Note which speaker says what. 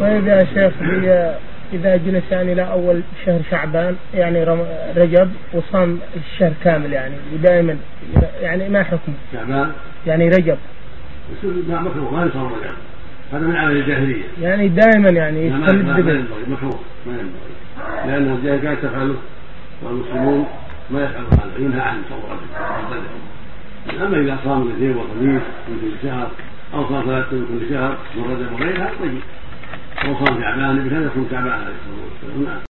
Speaker 1: طيب يا شيخ هي إذا جلس يعني إلى أول شهر شعبان يعني رم- رجب وصام الشهر كامل يعني ودائما يعني ما حكمه؟
Speaker 2: شعبان
Speaker 1: يعني رجب
Speaker 2: يصير مع مكروه ما يصوم رجب هذا من عمل الجاهليه
Speaker 1: يعني دائما يعني
Speaker 2: لا، ما ما-
Speaker 1: يستمد
Speaker 2: ما
Speaker 1: به
Speaker 2: ينبغي مكروه ما ينبغي لأن الجاهل كانت تفعله والمسلمون ما يفعلون هذا ينهى عن صوم رجب أما إذا صام الاثنين والخميس من كل شهر أو صام ثلاثة من كل شهر من رجب وغيرها طيب أو صام شعبان النبي كان يصوم شعبان عليه الصلاة والسلام نعم